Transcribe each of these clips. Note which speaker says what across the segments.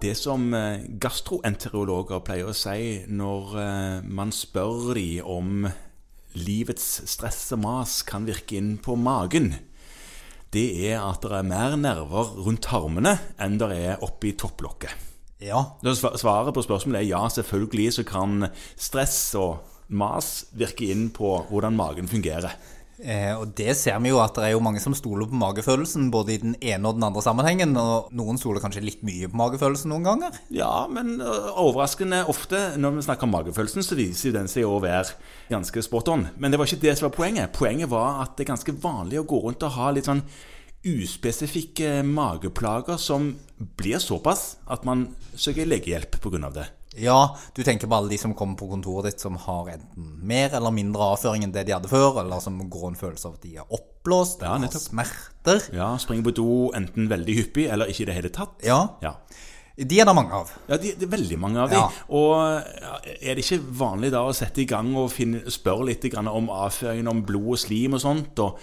Speaker 1: det som eh, gastroenterologer pleier å si når eh, man spør de om livets stress og mas kan virke inn på magen, det er at det er mer nerver rundt tarmene enn det er oppi topplokket.
Speaker 2: Ja.
Speaker 1: Da sva- Svaret på spørsmålet er ja, selvfølgelig så kan stress og mas virke inn på hvordan magen fungerer.
Speaker 2: Eh, og det ser vi jo at det er jo mange som stoler på magefølelsen, både i den ene og den andre sammenhengen. Og noen stoler kanskje litt mye på magefølelsen noen ganger.
Speaker 1: Ja, men ø, overraskende ofte når vi snakker om magefølelsen, så viser jo den seg å være ganske spot on. Men det var ikke det som var poenget. Poenget var at det er ganske vanlig å gå rundt og ha litt sånn uspesifikke mageplager som blir såpass at man søker legehjelp pga. det.
Speaker 2: Ja, du tenker på alle de som kommer på kontoret ditt som har enten mer eller mindre avføring enn det de hadde før, eller som går en følelse av at de er
Speaker 1: Ja,
Speaker 2: oppblåst, eller har
Speaker 1: nettopp.
Speaker 2: smerter.
Speaker 1: Ja, springer på do enten veldig hyppig eller ikke i det hele tatt.
Speaker 2: Ja,
Speaker 1: Ja,
Speaker 2: de er det mange av.
Speaker 1: ja de, det er veldig mange av de.
Speaker 2: Ja.
Speaker 1: Og ja, er det ikke vanlig da å sette i gang og finne, spørre litt grann om avføringen om blod og slim og sånt, og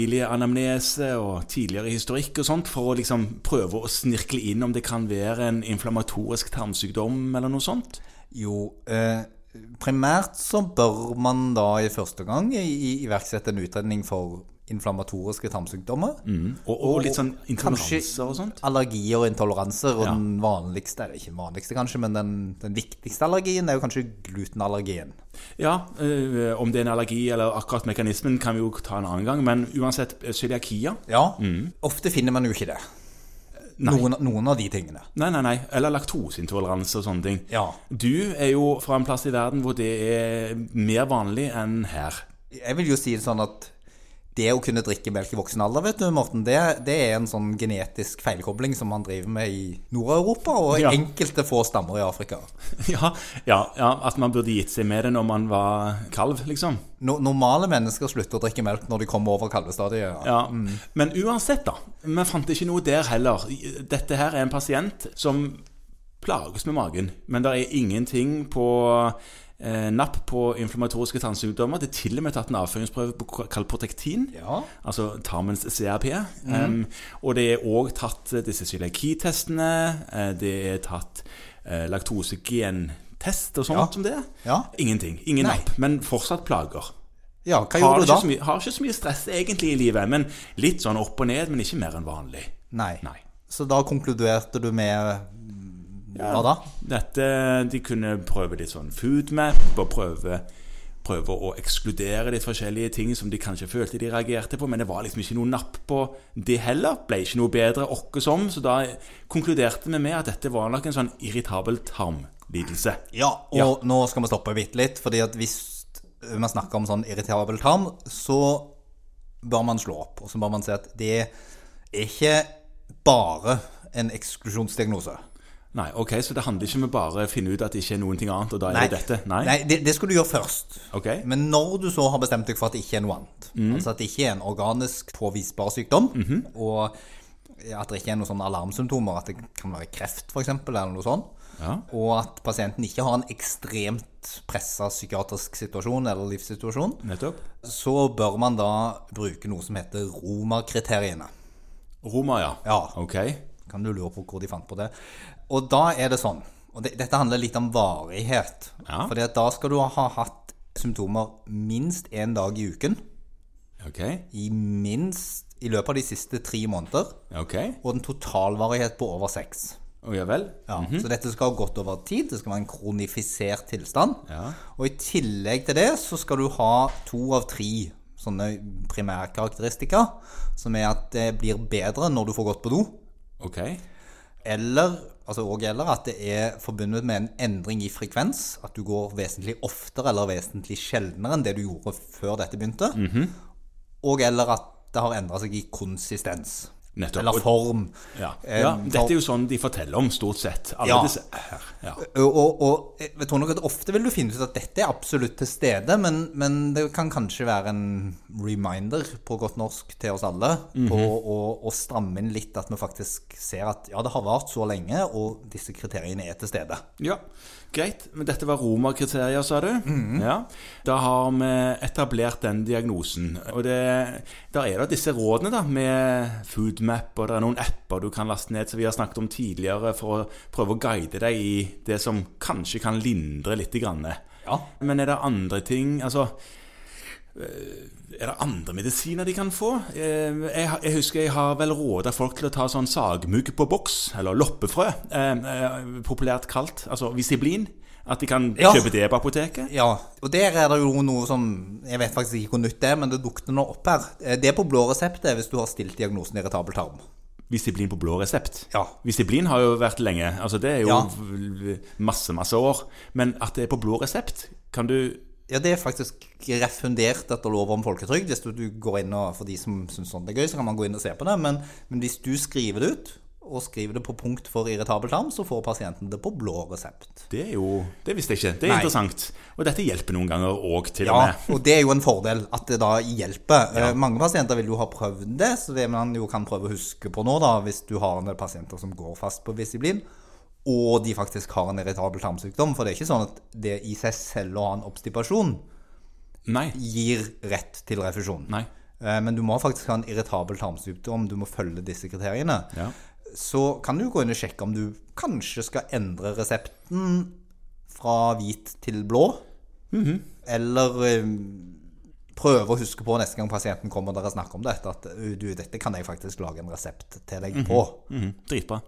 Speaker 1: familieanamnese og tidligere historikk og sånt, for å liksom prøve å snirkle inn om det kan være en inflammatorisk tarmsykdom eller noe sånt?
Speaker 2: Jo, eh, primært så bør man da i første gang i- i- iverksette en utredning for inflammatoriske tarmsykdommer.
Speaker 1: Og, og litt sånn intoleranser og sånt?
Speaker 2: Allergier og intoleranser, og
Speaker 1: Ja.
Speaker 2: den vanligste, eller ikke den vanligste kanskje, men den, den viktigste allergien er jo kanskje glutenallergien.
Speaker 1: Ja, eh, om det er en allergi eller akkurat mekanismen kan vi jo ta en annen gang, men uansett, eh, cøliakia
Speaker 2: Ja, Mm. ofte finner man jo ikke det. Noen, noen av de tingene.
Speaker 1: Nei, nei, nei. Eller laktoseintoleranse og sånne ting.
Speaker 2: Ja.
Speaker 1: Du er jo fra en plass i verden hvor det er mer vanlig enn her.
Speaker 2: Jeg vil jo si det sånn at det å kunne drikke melk i voksen alder, vet du, Morten, det, det er en sånn genetisk feilkobling som man driver med i Nord-Europa og i
Speaker 1: Ja.
Speaker 2: enkelte få stammer i Afrika.
Speaker 1: ja, ja, ja, at man burde gitt seg med det når man var kalv, liksom.
Speaker 2: No, normale mennesker slutter å drikke melk når de kommer over kalvestadiet.
Speaker 1: Ja. Men uansett, da. Vi fant ikke noe der heller. Dette her er en pasient som plages med magen, men det er ingenting på eh, napp på inflammatoriske tannsykdommer. Det er til og med tatt en avføringsprøve på kalprotektin.
Speaker 2: Ja. Mhm.
Speaker 1: Altså tarmens CRP. Em, og det er òg tatt eh, disse cøliakitestene. eh, Det er tatt eh, laktosegenentest og sånt
Speaker 2: Ja.
Speaker 1: som det. er.
Speaker 2: Ja.
Speaker 1: Ingenting. Ingen
Speaker 2: Nei.
Speaker 1: napp, men fortsatt plager.
Speaker 2: Ja, hva
Speaker 1: Har
Speaker 2: gjorde du
Speaker 1: ikke,
Speaker 2: da?
Speaker 1: så mye, har ikke så mye stress egentlig i livet, men litt sånn opp og ned, men ikke mer enn vanlig.
Speaker 2: Nei.
Speaker 1: Nei.
Speaker 2: Så da konkluderte du med Hva da?
Speaker 1: Dette, De kunne prøve litt sånn food map, og prøve, prøve å ekskludere litt forskjellige ting som de kanskje følte de reagerte på, men det var liksom ikke noe napp på det heller. Ble ikke noe bedre åkke som, så da konkluderte vi med at dette var nok en sånn irritabel tarmlidelse.
Speaker 2: Ja, og
Speaker 1: Ja.
Speaker 2: nå skal vi stoppe bitte litt, fordi at hvis man snakker om sånn irritabel tarm, så bør man slå opp, og så bør man si at det er ikke bare en eksklusjonsdiagnose.
Speaker 1: Nei, ok, så det handler ikke om å bare finne ut at det ikke er noen ting annet, og da er det dette? Nei?
Speaker 2: Nei det, det skal du gjøre først.
Speaker 1: Ok. Mhm.
Speaker 2: Men når du så har bestemt deg for at det ikke er noe annet, altså at det ikke er en organisk påvisbar sykdom, og at det ikke er noen sånne alarmsymptomer, at det kan være kreft f.eks., eller noe sånt,
Speaker 1: Ja.
Speaker 2: og at pasienten ikke har en ekstremt pressa psykiatrisk situasjon eller livssituasjon,
Speaker 1: Nettopp.
Speaker 2: så bør man da bruke noe som heter romerkriteriene.
Speaker 1: Roma, ja.
Speaker 2: Ja.
Speaker 1: Ok.
Speaker 2: Kan du lure på hvor de fant på det. Og da er det sånn, og det, dette handler litt om varighet,
Speaker 1: Ja.
Speaker 2: for da skal du ha hatt symptomer minst én dag i uken.
Speaker 1: Ok,
Speaker 2: i minst i løpet av de siste tre måneder,
Speaker 1: ok.
Speaker 2: og en totalvarighet på over seks.
Speaker 1: Å, ja vel.
Speaker 2: Ja, Så dette skal ha gått over tid, det skal være en kronifisert tilstand.
Speaker 1: Ja.
Speaker 2: Og i tillegg til det så skal du ha to av tre sånne primærkarakteristika, som er at det blir bedre når du får gått på do,
Speaker 1: Ok.
Speaker 2: eller altså og eller at det er forbundet med en endring i frekvens, at du går vesentlig oftere eller vesentlig sjeldnere enn det du gjorde før dette begynte,
Speaker 1: Mhm.
Speaker 2: og eller at det har endra seg i konsistens.
Speaker 1: Nettopp.
Speaker 2: Eller form.
Speaker 1: Ja.
Speaker 2: Eh,
Speaker 1: ja,
Speaker 2: for-
Speaker 1: dette er jo sånn de forteller om, stort sett. Alle
Speaker 2: Ja.
Speaker 1: disse her. Ja.
Speaker 2: Og, og, og jeg tror nok at ofte vil du finne ut at dette er absolutt til stede, men, men det kan kanskje være en reminder på godt norsk til oss alle
Speaker 1: Mhm.
Speaker 2: på å, å stramme inn litt, at vi faktisk ser at ja, det har vart så lenge, og disse kriteriene er til stede.
Speaker 1: ja. Greit. Men dette var romerkriterier, sa du?
Speaker 2: Mhm.
Speaker 1: Ja. Da har vi etablert den diagnosen. Og det, da er det disse rådene, da, med food foodmap, og det er noen apper du kan laste ned som vi har snakket om tidligere, for å prøve å guide deg i det som kanskje kan lindre litt. Grann.
Speaker 2: Ja.
Speaker 1: Men er det andre ting Altså eh, Er det andre medisiner de kan få? Eh, Jeg, har- jeg husker jeg har vel råda folk til å ta sånn sagmugg på boks, eller loppefrø, eh, eh, populært kalt. Altså visiblin. At de kan
Speaker 2: Ja.
Speaker 1: kjøpe det på apoteket.
Speaker 2: Ja, og der er det jo noe som Jeg vet faktisk ikke hvor nytt det er, men det dukket nå opp her. Eh, Det er på blå resept det er hvis du har stilt diagnosen irritabel tarm.
Speaker 1: Visiblin på blå resept.
Speaker 2: Ja.
Speaker 1: Visiblin har jo vært lenge, altså det er jo
Speaker 2: Ja.
Speaker 1: v- masse, masse år. Men at det er på blå resept, kan du
Speaker 2: Ja, det er faktisk refundert etter lov om folketrygd. Hvis du, du går inn og, For de som syns sånt er gøy, så kan man gå inn og se på det. Men, men hvis du skriver det ut, og skriver det på punkt for irritabel tarm, så får pasienten det på blå resept.
Speaker 1: Det er jo Det visste jeg ikke. Det er
Speaker 2: Nei.
Speaker 1: interessant. Og dette hjelper noen ganger òg, til og
Speaker 2: Ja,
Speaker 1: med.
Speaker 2: og det er jo en fordel at det da hjelper. Eh, Mange pasienter vil jo ha prøvd det, så det man jo kan prøve å huske på nå, da, hvis du har en del pasienter som går fast på visiblin, og de faktisk har en irritabel tarmsykdom, for det er ikke sånn at det i seg selv å ha en obstipasjon
Speaker 1: Nei.
Speaker 2: gir rett til refusjon.
Speaker 1: Nei.
Speaker 2: Eh, Men du må faktisk ha en irritabel tarmsykdom, du må følge disse kriteriene.
Speaker 1: Ja.
Speaker 2: Så kan du gå inn og sjekke om du kanskje skal endre resepten fra hvit til blå. Eller eh, prøve å huske på neste gang pasienten kommer og dere snakker om dette, at eh, du, dette kan jeg faktisk lage en resept til deg på.
Speaker 1: Mhm, Dritbra.